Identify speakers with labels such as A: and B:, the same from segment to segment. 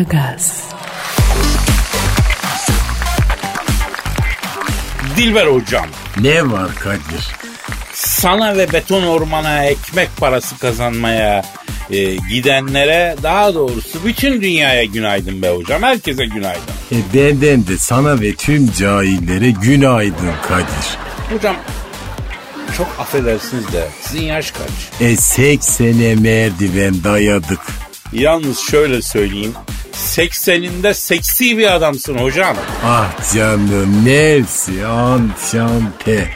A: Aragaz,
B: Dilber hocam
C: Ne var Kadir?
B: sana ve beton ormana ekmek parası kazanmaya e, gidenlere daha doğrusu bütün dünyaya günaydın be hocam. Herkese günaydın.
C: E benden de sana ve tüm cahillere günaydın Kadir.
B: Hocam çok affedersiniz de sizin yaş kaç?
C: E 80'e merdiven dayadık.
B: Yalnız şöyle söyleyeyim. 80'inde seksi bir adamsın hocam.
C: Ah canım nefsi an şante.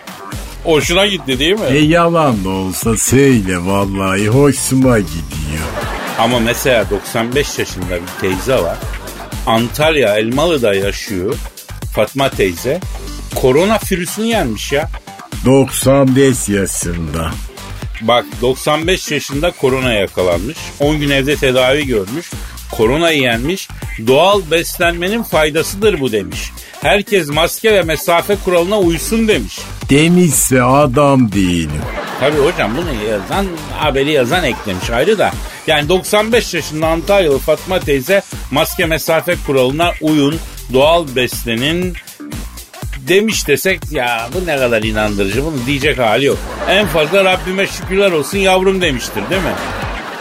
B: Hoşuna gitti değil mi?
C: E yalan da olsa söyle vallahi hoşuma gidiyor.
B: Ama mesela 95 yaşında bir teyze var. Antalya Elmalı'da yaşıyor. Fatma teyze. Korona virüsünü yenmiş ya.
C: 95 yaşında.
B: Bak 95 yaşında korona yakalanmış. 10 gün evde tedavi görmüş. Korona yenmiş. Doğal beslenmenin faydasıdır bu demiş. Herkes maske ve mesafe kuralına uysun demiş.
C: Demişse adam değilim.
B: Tabii hocam bunu yazan, haberi yazan eklemiş ayrı da. Yani 95 yaşında Antalyalı Fatma teyze maske mesafe kuralına uyun, doğal beslenin demiş desek ya bu ne kadar inandırıcı bunu diyecek hali yok. En fazla Rabbime şükürler olsun yavrum demiştir değil mi?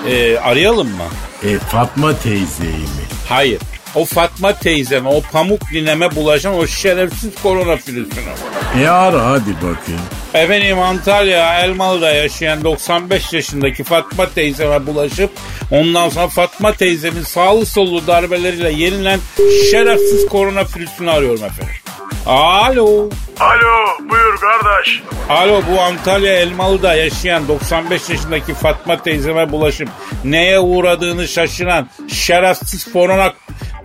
B: Ee, arayalım mı?
C: E Fatma teyzeyi mi?
B: Hayır. O Fatma teyzeme, o pamuk nineme bulaşan o şerefsiz korona virüsünü.
C: E ara hadi bakayım.
B: Efendim Antalya Elmalı'da yaşayan 95 yaşındaki Fatma teyzeme bulaşıp ondan sonra Fatma teyzemin sağlı sollu darbeleriyle yenilen şerefsiz korona virüsünü arıyorum efendim. Alo.
D: Alo buyur kardeş.
B: Alo bu Antalya Elmalı'da yaşayan 95 yaşındaki Fatma teyzeme bulaşıp neye uğradığını şaşıran şerefsiz korona,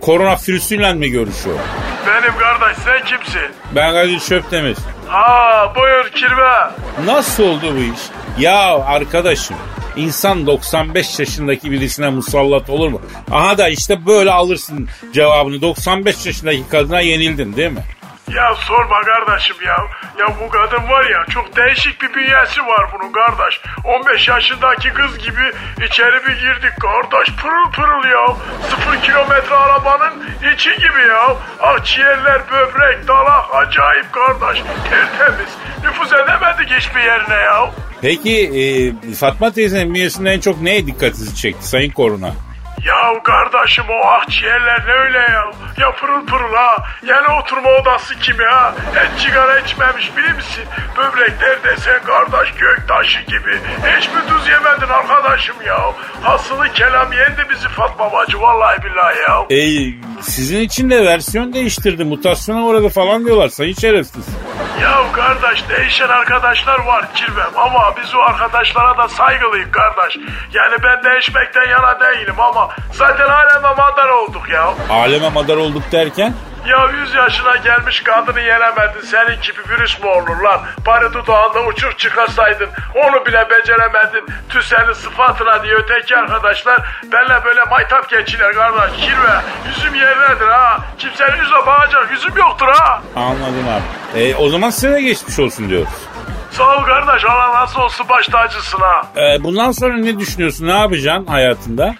B: korona virüsüyle mi görüşüyor?
D: Benim kardeş sen kimsin?
B: Ben Kadir Şöpdemir.
D: Ha buyur kirve.
B: Nasıl oldu bu iş? Ya arkadaşım insan 95 yaşındaki birisine musallat olur mu? Aha da işte böyle alırsın cevabını. 95 yaşındaki kadına yenildin değil mi?
D: Ya sorma kardeşim ya. Ya bu kadın var ya çok değişik bir bünyesi var bunun kardeş. 15 yaşındaki kız gibi içeri bir girdik kardeş pırıl pırıl ya. Sıfır kilometre arabanın içi gibi ya. Akciğerler, böbrek, dalak acayip kardeş. Tertemiz. Nüfuz edemedik hiçbir yerine ya.
B: Peki e, Fatma teyzenin bünyesinde en çok neye dikkatinizi çekti Sayın Koruna?
D: Ya kardeşim o akciğerler ne öyle ya? Ya pırıl pırıl ha. Yeni oturma odası kimi ha? Et sigara içmemiş bilir misin? Böbrekler desen kardeş gök taşı gibi. Hiç mi tuz yemedin arkadaşım ya? Hasılı kelam yendi bizi Fatma bacı vallahi billahi ya.
B: E, sizin için de versiyon değiştirdi. Mutasyona uğradı falan diyorlar Sayın Şerefsiz.
D: Ya kardeş değişen arkadaşlar var kirvem ama biz o arkadaşlara da saygılıyız kardeş. Yani ben değişmekten yana değilim ama zaten halen amadar olduk ya.
B: Aleme madar olduk derken
D: Ya 100 yaşına gelmiş kadını yenemedin. Senin gibi virüs mü olur lan? Bari dudağında uçuk çıkarsaydın. Onu bile beceremedin. Tüh senin sıfatına diye öteki arkadaşlar. Benle böyle maytap geçiler kardeş. Kirve. Yüzüm yerlerdir ha. Kimsenin yüzüne bakacak yüzüm yoktur ha.
B: anladım abi. E, o zaman size de geçmiş olsun diyoruz.
D: Sağ ol kardeş. Allah nasıl olsun baş tacısın ha.
B: E, bundan sonra ne düşünüyorsun? Ne yapacaksın hayatında?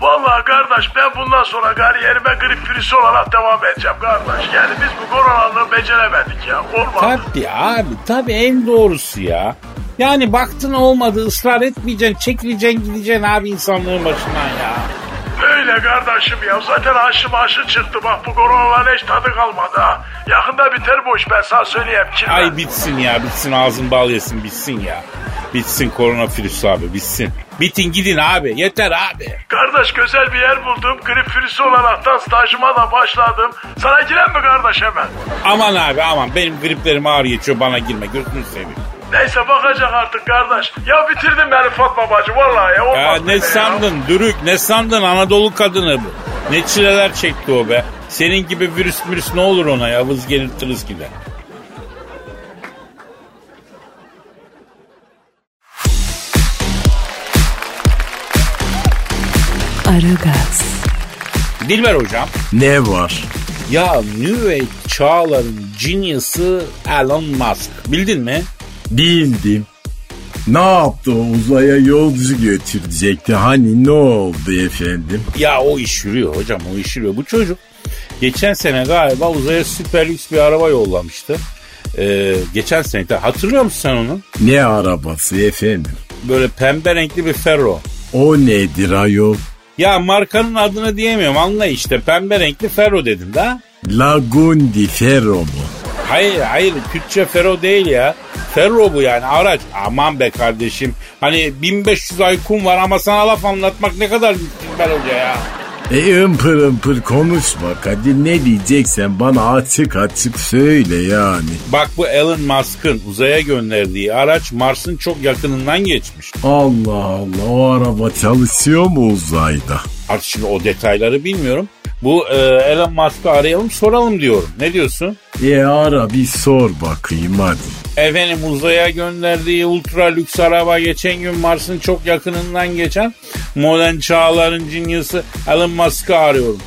D: Vallahi kardeş ben bundan sonra kariyerime grip virüsü olarak devam edeceğim kardeş. Yani biz bu koronaları beceremedik ya. Olmadı.
B: Tabii abi tabii en doğrusu ya. Yani baktın olmadı ısrar etmeyeceksin çekileceksin gideceksin abi insanlığın başından ya.
D: Öyle kardeşim ya. Zaten aşım aşı çıktı. Bak bu koronalar hiç tadı kalmadı ha. Yakında biter bu iş ben sana söyleyeyim ki.
B: Ay bitsin ya bitsin ağzın bal yesin bitsin ya. Bitsin koronavirüs abi bitsin. Bitin gidin abi yeter abi.
D: Kardeş güzel bir yer buldum. Grip virüsü olaraktan stajıma da başladım. Sana giren mi kardeş hemen?
B: Aman abi aman benim griplerim ağır geçiyor bana girme gözünü seveyim.
D: Neyse bakacak artık kardeş. Ya bitirdin beni Fatma bacı vallahi ya.
B: Ya
D: Olmaz
B: ne
D: böyle
B: sandın dürük ne sandın Anadolu kadını bu. Ne çileler çekti o be. Senin gibi virüs virüs ne olur ona ya vız gelir tırıs gider.
A: Aragaz,
B: Dilber hocam
C: Ne var?
B: Ya New Age çağların genius'ı Elon Musk. Bildin mi?
C: Bildim. Ne yaptı o uzaya yolcu götürecekti? Hani ne oldu efendim?
B: Ya o iş yürüyor hocam o iş yürüyor. Bu çocuk geçen sene galiba uzaya süper lüks bir araba yollamıştı. Ee, geçen sene de hatırlıyor musun sen onu?
C: Ne arabası efendim?
B: Böyle pembe renkli bir Ferro.
C: O nedir ayol?
B: Ya markanın adını diyemiyorum anla işte pembe renkli Ferro dedim de.
C: Lagundi Ferro mu?
B: Hayır hayır Türkçe Ferro değil ya. Ferro bu yani araç. Aman be kardeşim. Hani 1500 aykun var ama sana laf anlatmak ne kadar ben hoca ya.
C: E ımpır ımpır konuşma Kadir ne diyeceksen bana açık açık söyle yani.
B: Bak bu Elon Musk'ın uzaya gönderdiği araç Mars'ın çok yakınından geçmiş.
C: Allah Allah o araba çalışıyor mu uzayda?
B: Artık şimdi o detayları bilmiyorum. Bu e, Elon Musk'ı arayalım soralım diyorum. Ne diyorsun?
C: E ara bir sor bakayım hadi.
B: Efendim uzaya gönderdiği ultra lüks araba geçen gün Mars'ın çok yakınından geçen modern çağların cinyası Elon Musk'ı arıyorum.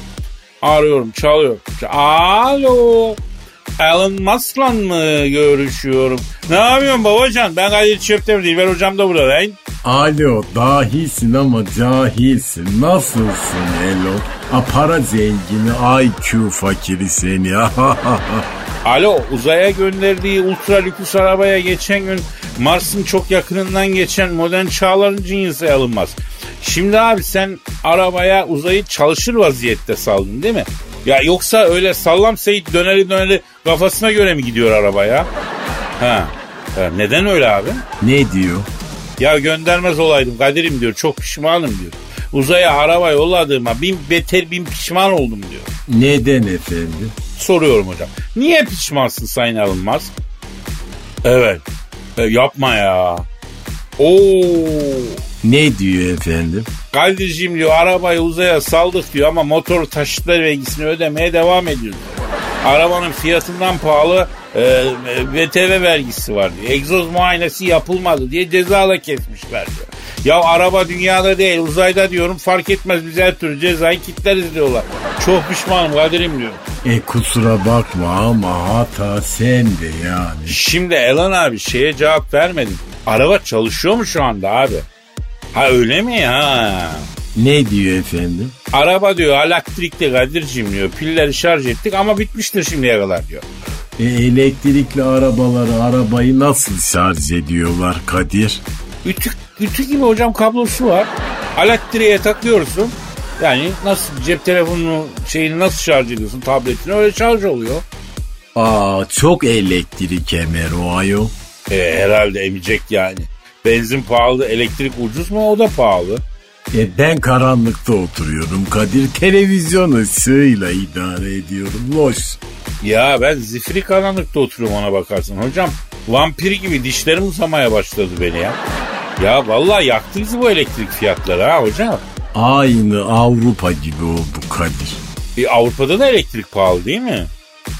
B: Arıyorum, çalıyorum. Ç- Alo. Elon Musk'la mı görüşüyorum? Ne yapıyorsun babacan? Ben Kadir Çöptemir değil. Ben hocam da burada. lan.
C: Alo dahisin ama cahilsin. Nasılsın Elo? A para zengini IQ fakiri seni.
B: Alo uzaya gönderdiği ultra lüks arabaya geçen gün Mars'ın çok yakınından geçen modern çağların cinyası Elon Musk. Şimdi abi sen arabaya uzayı çalışır vaziyette saldın değil mi? Ya yoksa öyle sallam seyit döneri döneri kafasına göre mi gidiyor arabaya? Ha. ha neden öyle abi?
C: ne diyor?
B: Ya göndermez olaydım Kadir'im diyor çok pişmanım diyor. Uzaya araba yolladığıma bin beter bin pişman oldum diyor.
C: Neden efendim?
B: Soruyorum hocam. Niye pişmansın Sayın Elon Musk? Evet. E, yapma ya. Oo.
C: Ne diyor efendim?
B: Kadir'cim diyor arabayı uzaya saldık diyor ama motor taşıtları vergisini ödemeye devam ediyor diyor. Arabanın fiyatından pahalı e, e, VTV vergisi var diyor. Egzoz muayenesi yapılmadı diye ceza da kesmişler diyor. Ya araba dünyada değil uzayda diyorum fark etmez biz her türlü cezayı kitleriz diyorlar. Çok pişmanım Kadir'im diyor.
C: E kusura bakma ama hata sende yani.
B: Şimdi Elan abi şeye cevap vermedin. Araba çalışıyor mu şu anda abi? Ha öyle mi ya?
C: Ne diyor efendim?
B: Araba diyor elektrikli Kadir'cim diyor. Pilleri şarj ettik ama bitmiştir şimdiye kadar diyor.
C: E, elektrikli arabaları arabayı nasıl şarj ediyorlar Kadir?
B: Ütü, ütü gibi hocam kablosu var. Elektriğe takıyorsun. Yani nasıl cep telefonunu şeyini nasıl şarj ediyorsun tabletini öyle şarj oluyor.
C: Aa çok elektrik emer o ayol.
B: E, herhalde emecek yani. Benzin pahalı, elektrik ucuz mu o da pahalı.
C: E, ben karanlıkta oturuyorum Kadir. Televizyon ışığıyla idare ediyorum. Loş.
B: Ya ben zifiri karanlıkta oturuyorum ona bakarsın hocam. Vampir gibi dişlerim uzamaya başladı beni ya. Ya vallahi yaktı bizi bu elektrik fiyatları ha hocam.
C: Aynı Avrupa gibi oldu Kadir.
B: E, Avrupa'da da elektrik pahalı değil mi?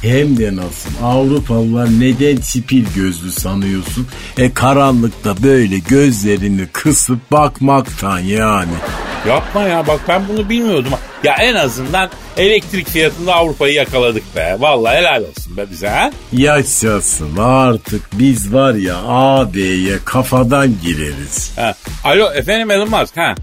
C: Hem de nasıl Avrupalılar neden sipil gözlü sanıyorsun? E karanlıkta böyle gözlerini kısıp bakmaktan yani.
B: Yapma ya bak ben bunu bilmiyordum. Ya en azından elektrik fiyatında Avrupa'yı yakaladık be. Vallahi helal olsun be bize ha.
C: Yaşasın artık biz var ya AB'ye kafadan gireriz.
B: ha. Alo efendim Elon Musk ha.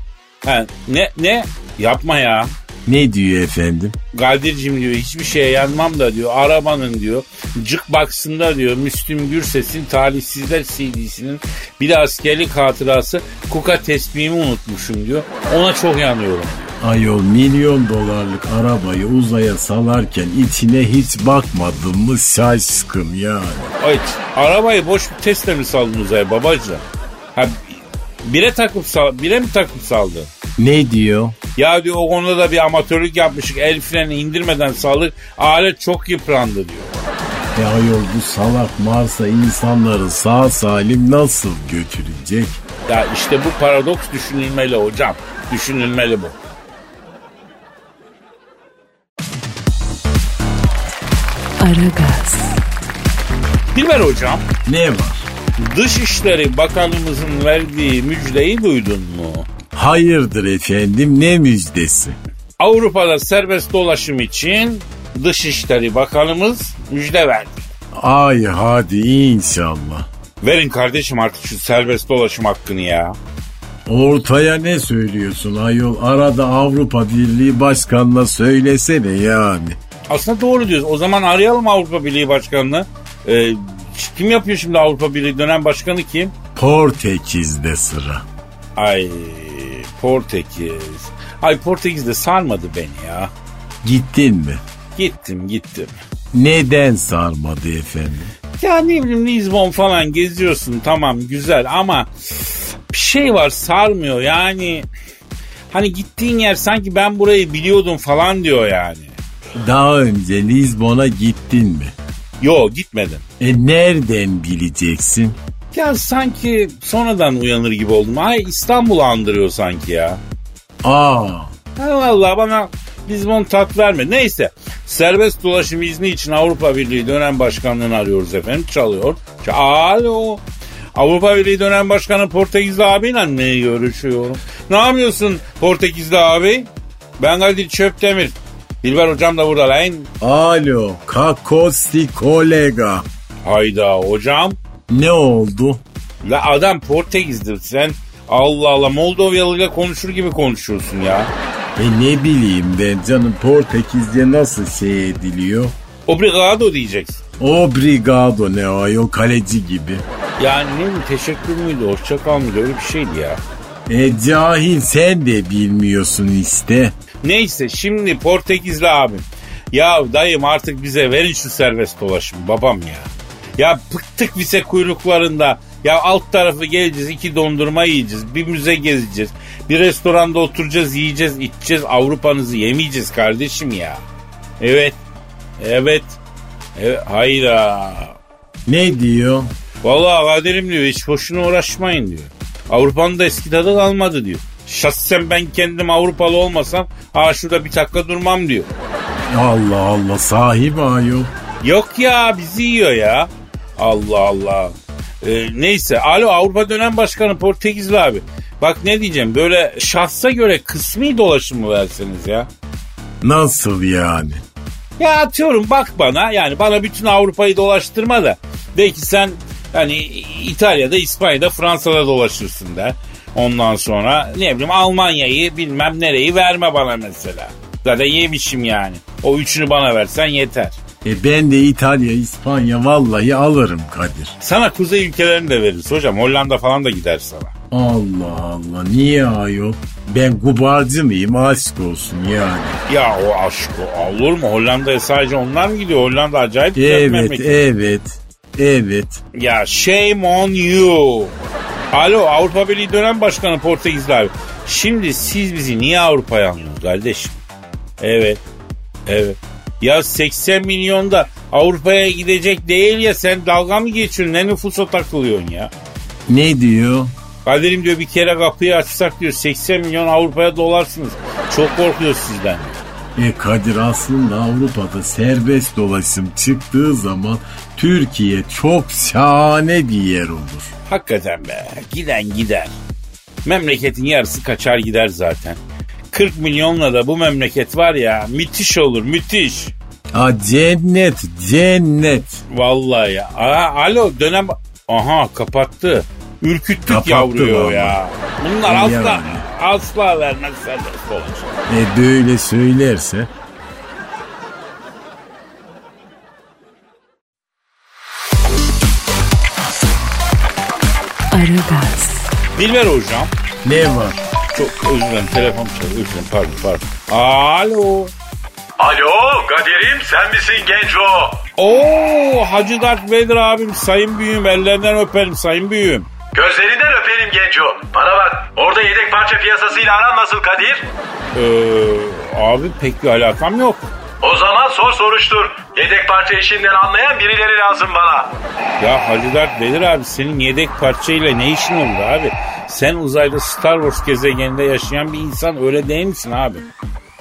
B: ha. Ne ne? Yapma ya.
C: Ne diyor efendim?
B: Kadir'cim diyor hiçbir şeye yanmam da diyor arabanın diyor cık baksında diyor Müslüm Gürses'in Talihsizler CD'sinin bir de askerlik hatırası kuka tesbihimi unutmuşum diyor. Ona çok yanıyorum.
C: Ayol milyon dolarlık arabayı uzaya salarken içine hiç bakmadın mı şaşkın yani.
B: Ay arabayı boş bir testle mi saldın uzaya babacığım? Ha, bire takıp sal, bire mi takıp saldın?
C: Ne diyor?
B: Ya diyor o konuda da bir amatörlük yapmışık. El freni indirmeden saldık. Alet çok yıprandı diyor.
C: E ayol bu salak Mars'a insanları sağ salim nasıl götürecek?
B: Ya işte bu paradoks düşünülmeli hocam. Düşünülmeli bu.
A: Aragaz,
B: Dilber hocam
C: Ne var?
B: Dışişleri Bakanımızın verdiği müjdeyi duydun mu?
C: Hayırdır efendim ne müjdesi?
B: Avrupa'da serbest dolaşım için Dışişleri Bakanımız müjde verdi.
C: Ay hadi inşallah.
B: Verin kardeşim artık şu serbest dolaşım hakkını ya.
C: Ortaya ne söylüyorsun ayol? Arada Avrupa Birliği Başkanı'na söylesene yani.
B: Aslında doğru diyoruz. O zaman arayalım Avrupa Birliği Başkanı'nı. Ee, kim yapıyor şimdi Avrupa Birliği dönem başkanı kim?
C: Portekiz'de sıra.
B: Ay Portekiz. Ay Portekiz de sarmadı beni ya.
C: Gittin mi?
B: Gittim gittim.
C: Neden sarmadı efendim?
B: Ya ne bileyim Lisbon falan geziyorsun tamam güzel ama bir şey var sarmıyor yani. Hani gittiğin yer sanki ben burayı biliyordum falan diyor yani.
C: Daha önce Lizbon'a gittin mi?
B: Yo gitmedim.
C: E nereden bileceksin?
B: Ya sanki sonradan uyanır gibi oldum. Ay İstanbul'u andırıyor sanki ya.
C: Aa,
B: Ha vallahi bana Lisbon tat vermedi. Neyse serbest dolaşım izni için Avrupa Birliği dönem başkanlığını arıyoruz efendim. Çalıyor. Ç- Alo. Avrupa Birliği dönem başkanı Portekizli abiyle mi görüşüyorum? Ne yapıyorsun Portekizli abi? Ben Kadir Çöptemir. Dilber hocam da burada lan.
C: alo kakosi kolega.
B: Hayda hocam.
C: Ne oldu?
B: La adam Portekiz'dir sen. Allah Allah Moldovyalı'yla konuşur gibi konuşuyorsun ya.
C: E ne bileyim ben canım Portekizce nasıl şey ediliyor?
B: Obrigado diyeceksin.
C: Obrigado ne ayol kaleci gibi.
B: Yani ne mi teşekkür müydü hoşça kal mıydı öyle bir şeydi ya.
C: E cahil sen de bilmiyorsun işte.
B: Neyse şimdi Portekizli abim. Ya dayım artık bize verin şu serbest dolaşımı babam ya. Ya bıktık vize kuyruklarında. Ya alt tarafı geleceğiz iki dondurma yiyeceğiz. Bir müze gezeceğiz. Bir restoranda oturacağız yiyeceğiz içeceğiz. Avrupa'nızı yemeyeceğiz kardeşim ya. Evet. Evet. E, evet. Hayır ha.
C: Ne diyor?
B: Vallahi kaderim diyor hiç boşuna uğraşmayın diyor. Avrupa'nın da eski tadı kalmadı diyor. Şahsen ben kendim Avrupalı olmasam aa şurada bir dakika durmam diyor.
C: Allah Allah sahibi ayol.
B: Yok ya bizi yiyor ya. Allah Allah. Ee, neyse alo Avrupa dönem başkanı Portekizli abi. Bak ne diyeceğim böyle şahsa göre kısmi dolaşım mı verseniz ya?
C: Nasıl yani?
B: Ya atıyorum bak bana yani bana bütün Avrupa'yı dolaştırma da de ki sen hani İtalya'da, İspanya'da, Fransa'da dolaşırsın da. Ondan sonra ne bileyim Almanya'yı bilmem nereyi verme bana mesela. Zaten yemişim yani. O üçünü bana versen yeter.
C: E ben de İtalya, İspanya vallahi alırım Kadir.
B: Sana kuzey ülkelerini de veririz hocam. Hollanda falan da gider sana.
C: Allah Allah niye ayol? Ben gubarcı mıyım aşk olsun yani.
B: Ya o aşk o. Olur mu? Hollanda'ya sadece onlar mı gidiyor? Hollanda acayip güzel bir
C: Evet
B: memleket.
C: evet evet.
B: Ya shame on you. Alo Avrupa Birliği dönem başkanı Portekizli abi. Şimdi siz bizi niye Avrupa'ya alıyorsunuz kardeşim? Evet. Evet. Ya 80 milyonda Avrupa'ya gidecek değil ya sen dalga mı geçiyorsun? Ne nüfusa takılıyorsun ya?
C: Ne diyor?
B: Kaderim diyor bir kere kapıyı açsak diyor 80 milyon Avrupa'ya dolarsınız. Çok korkuyoruz sizden.
C: E Kadir aslında Avrupa'da serbest dolaşım çıktığı zaman Türkiye çok şahane bir yer olur.
B: Hakikaten be giden gider. Memleketin yarısı kaçar gider zaten. 40 milyonla da bu memleket var ya müthiş olur müthiş.
C: Ha cennet cennet.
B: Vallahi ya. Aa, alo dönem... Aha kapattı. Ürküttük
C: Kapattı
B: yavruyu
C: vallahi.
B: ya. Bunlar
C: Yani.
B: asla, asla vermez serbest şey. dolaşım.
C: E böyle söylerse
A: Aragaz,
B: Dilber hocam.
C: ne var?
B: Çok özür dilerim telefon çalıyor. Özür dilerim pardon pardon. Alo.
D: Alo Kadir'im sen misin genco?
B: Oo Hacı Dert Vedir abim sayın büyüğüm ellerinden öperim sayın büyüğüm.
D: Gözlerinden öperim genco. Bana bak orada yedek parça piyasasıyla aran nasıl Kadir?
B: Ee, abi pek bir alakam yok.
D: O zaman sor soruştur. Yedek parça işinden anlayan birileri lazım bana.
B: Ya Hacı Dert Vedir abi senin yedek parçayla ne işin oldu abi? Sen uzayda Star Wars gezegeninde yaşayan bir insan öyle değil misin abi?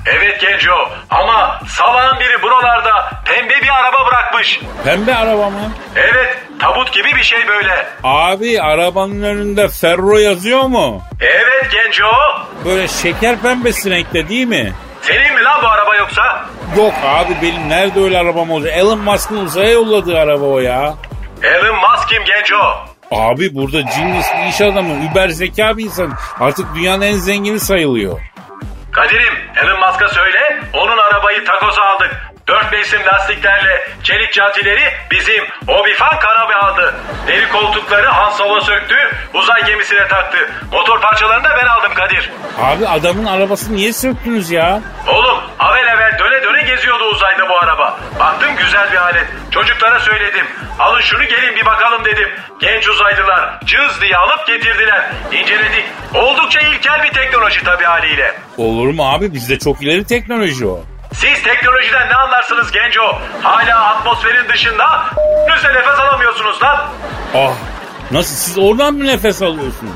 D: Evet genco ama sabahın biri buralarda pembe bir araba bırakmış.
B: Pembe araba mı?
D: Evet tabut gibi bir şey böyle.
B: Abi arabanın önünde Ferro yazıyor mu?
D: Evet genco.
B: Böyle şeker pembesi renkte değil mi?
D: Senin mi lan bu araba yoksa?
B: Yok abi benim nerede öyle arabam olacak? Elon Musk'ın uzaya yolladığı araba o ya.
D: Elon Musk kim genco?
B: Abi burada genius bir iş adamı, über zeka bir insan. Artık dünyanın en zengini sayılıyor.
D: Kadir'im Elon Musk'a söyle onun arabayı takoza aldık. Dört mevsim lastiklerle çelik cantileri bizim Obifan Kanabi aldı. Deri koltukları Hansova söktü, uzay gemisine taktı. Motor parçalarını da ben aldım Kadir.
B: Abi adamın arabasını niye söktünüz ya?
D: Oğlum avel avel döne döne geziyordu uzayda bu araba. Baktım güzel bir alet. Çocuklara söyledim. Alın şunu gelin bir bakalım dedim. Genç uzaylılar cız diye alıp getirdiler. İnceledik. Oldukça ilkel bir teknoloji tabii haliyle.
B: Olur mu abi bizde çok ileri teknoloji o.
D: Siz teknolojiden ne anlarsınız genco? Hala atmosferin dışında önünüzde nefes alamıyorsunuz lan.
B: Ah nasıl siz oradan mı nefes alıyorsunuz?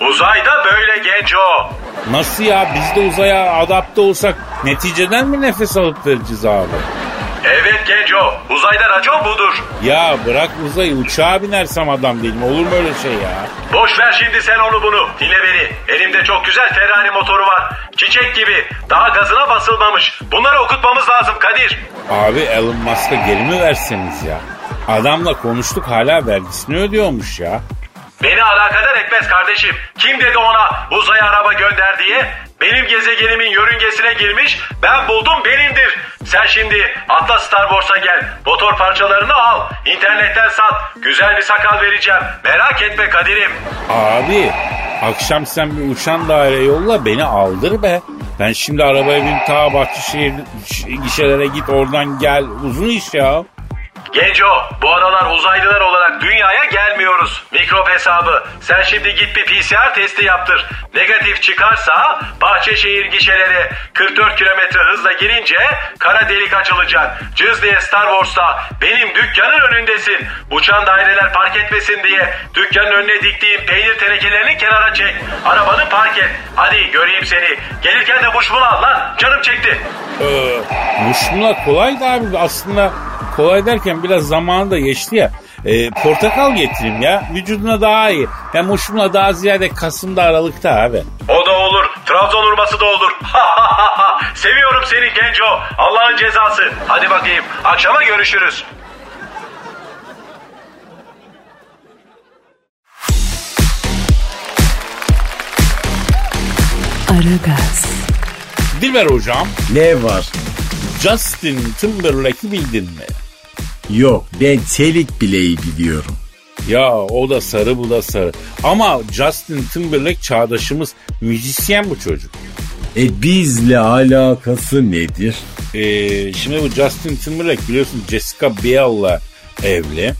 D: Uzayda böyle genco.
B: Nasıl ya biz de uzaya adapte olsak neticeden mi nefes alıp vereceğiz abi?
D: Evet genco, uzayda racon budur.
B: Ya bırak uzayı uçağa binersem adam değilim olur mu öyle şey ya?
D: Boş ver şimdi sen onu bunu. Dinle beni. Elimde çok güzel Ferrari motoru var. Çiçek gibi. Daha gazına basılmamış. Bunları okutmamız lazım Kadir.
B: Abi Elon Musk'a geri mi verseniz ya? Adamla konuştuk hala vergisini ödüyormuş ya.
D: Beni alakadar etmez kardeşim. Kim dedi ona uzaya araba gönder diye? Benim gezegenimin yörüngesine girmiş, ben buldum benimdir. Sen şimdi atla Star Wars'a gel, motor parçalarını al, internetten sat, güzel bir sakal vereceğim. Merak etme Kadir'im.
B: Abi akşam sen bir uçan daire yolla beni aldır be. Ben şimdi arabaya bin ta Bahçeşehir ş- gişelere git oradan gel. Uzun iş ya.
D: Genco, bu aralar uzaylılar olarak dünyaya gelmiyoruz. Mikrop hesabı. Sen şimdi git bir PCR testi yaptır. Negatif çıkarsa Bahçeşehir gişelere 44 kilometre hızla girince kara delik açılacak. Cız diye Star Wars'ta benim dükkanın önündesin. Uçan daireler park etmesin diye dükkanın önüne diktiğim peynir tenekelerini kenara çek. Arabanı park et. Hadi göreyim seni. Gelirken de buşmula al lan. Canım çekti.
B: Ee, Muşmula kolay da abi aslında kolay derken biraz zamanı da geçti ya. Ee, portakal getireyim ya. Vücuduna daha iyi. Ya muşmula daha ziyade Kasım'da Aralık'ta abi.
D: O da olur. Trabzon urması da olur. Seviyorum seni Genco. Allah'ın cezası. Hadi bakayım. Akşama görüşürüz.
A: Aragaz,
B: Dilber hocam
C: Ne var?
B: Justin Timberlake'i bildin mi?
C: Yok ben çelik bileği biliyorum.
B: Ya o da sarı bu da sarı. Ama Justin Timberlake çağdaşımız müzisyen bu çocuk.
C: E bizle alakası nedir?
B: Ee, şimdi bu Justin Timberlake biliyorsun Jessica Biel'la evli.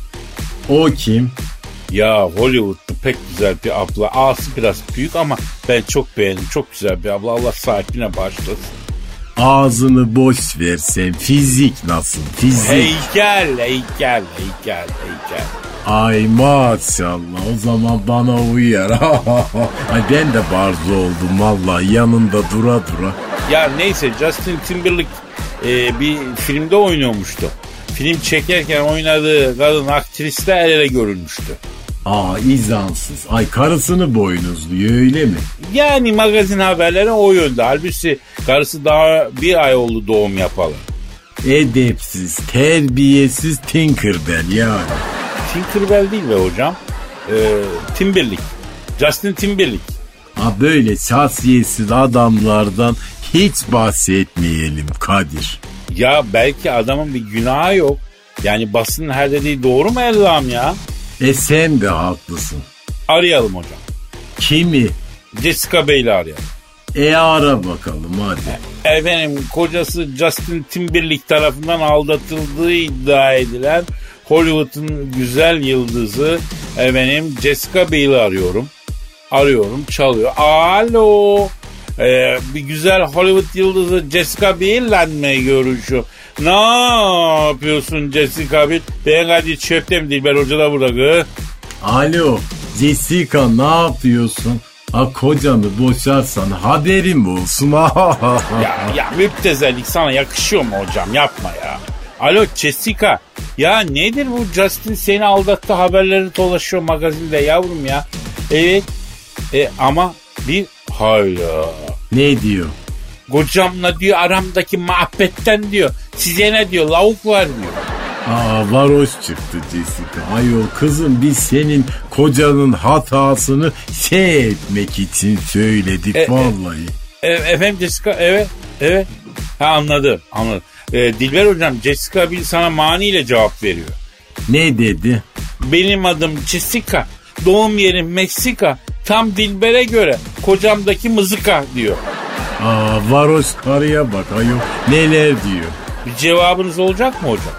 C: O kim?
B: Ya Hollywood'da pek güzel bir abla. Ağası biraz büyük ama ben çok beğendim. Çok güzel bir abla. Allah sahibine bağışlasın.
C: Ağzını boş versen fizik nasıl? Fizik.
B: Heykel, heykel, heykel, heykel.
C: Ay maşallah o zaman bana uyar. Ay ben de barzo oldum vallahi yanında dura dura.
B: Ya neyse Justin Timberlake e, bir filmde oynuyormuştu. Film çekerken oynadığı kadın aktris de el ele görülmüştü.
C: Aa izansız. Ay karısını boynuzluyor öyle mi?
B: Yani magazin haberleri o yönde. Halbuki karısı daha bir ay oldu doğum yapalım.
C: Edepsiz, terbiyesiz Tinkerbell yani.
B: Tinkerbell değil be hocam. Ee, Timberlake. Justin Timberlake.
C: Ha böyle şahsiyetsiz adamlardan hiç bahsetmeyelim Kadir.
B: Ya belki adamın bir günahı yok. Yani basının her dediği doğru mu Allah'ım ya?
C: E sen de haklısın.
B: Arayalım hocam.
C: Kimi?
B: Jessica Bey'le arayalım.
C: E ara bakalım hadi.
B: Efendim kocası Justin Timberlake tarafından aldatıldığı iddia edilen Hollywood'un güzel yıldızı efendim Jessica Biel'i arıyorum. Arıyorum çalıyor. Alo. Ee, bir güzel Hollywood yıldızı Jessica Biel'le mi görüşüyor? Ne yapıyorsun Jessica Biel? Ben hadi çöpte mi Dilber Hoca da burada gı.
C: Alo Jessica ne yapıyorsun? Ha kocanı boşarsan haberim olsun.
B: Ya, ya müptezellik sana yakışıyor mu hocam yapma ya. Alo Jessica. Ya nedir bu Justin seni aldattı haberleri dolaşıyor magazinde yavrum ya. Evet. E, ama bir hayla.
C: ne diyor?
B: Kocamla diyor aramdaki muhabbetten diyor. Size ne diyor lavuk var diyor.
C: Aa varoş çıktı Jessica. Ayol kızım biz senin kocanın hatasını şey etmek için söyledik
B: e.
C: vallahi.
B: E, efendim Jessica evet evet. Ha anladım anladım. E, Dilber hocam Jessica Biel sana maniyle cevap veriyor.
C: Ne dedi?
B: Benim adım Jessica. Doğum yerim Meksika. Tam Dilber'e göre kocamdaki mızıka diyor.
C: Aa varoş karıya bak ayol neler diyor.
B: Bir cevabınız olacak mı hocam?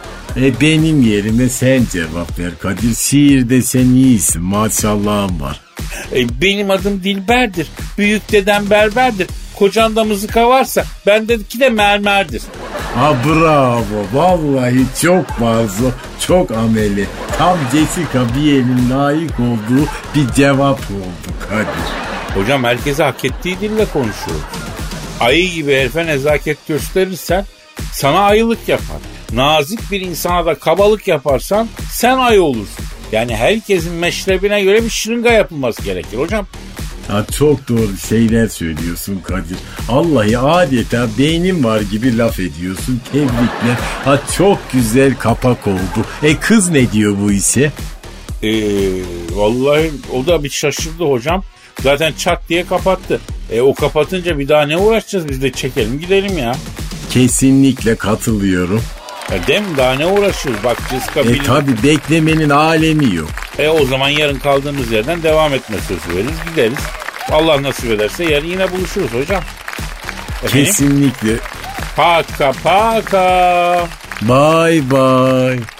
C: E benim yerime sen cevap ver Kadir. Şiirde sen iyisin maşallahın var.
B: E, benim adım Dilber'dir. Büyük dedem berberdir. Kocanda mızıka varsa bendeki de mermerdir.
C: Ha bravo vallahi çok bazı çok ameli. Tam Jessica Biel'in layık olduğu bir cevap oldu Kadir.
B: Hocam herkese hak ettiği dille konuşuyoruz. Ayı gibi herife nezaket gösterirsen sana ayılık yapar. Nazik bir insana da kabalık yaparsan sen ayı olursun. Yani herkesin meşrebine göre bir şırınga yapılması gerekir hocam.
C: Ha çok doğru şeyler söylüyorsun Kadir. Allahi adeta beynim var gibi laf ediyorsun. Tebrikler. Ha çok güzel kapak oldu. E kız ne diyor bu ise?
B: Ee, vallahi o da bir şaşırdı hocam. Zaten çat diye kapattı. E, o kapatınca bir daha ne uğraşacağız biz de çekelim gidelim ya.
C: Kesinlikle katılıyorum.
B: ya değil mi? Daha ne uğraşıyoruz? Bak Jessica
C: E
B: Biel-
C: tabi beklemenin alemi yok.
B: E o zaman yarın kaldığımız yerden devam etme sözü veririz gideriz. Allah nasip ederse yarın yine buluşuruz hocam. Efendim?
C: Kesinlikle.
B: Paka paka.
C: Bye bye.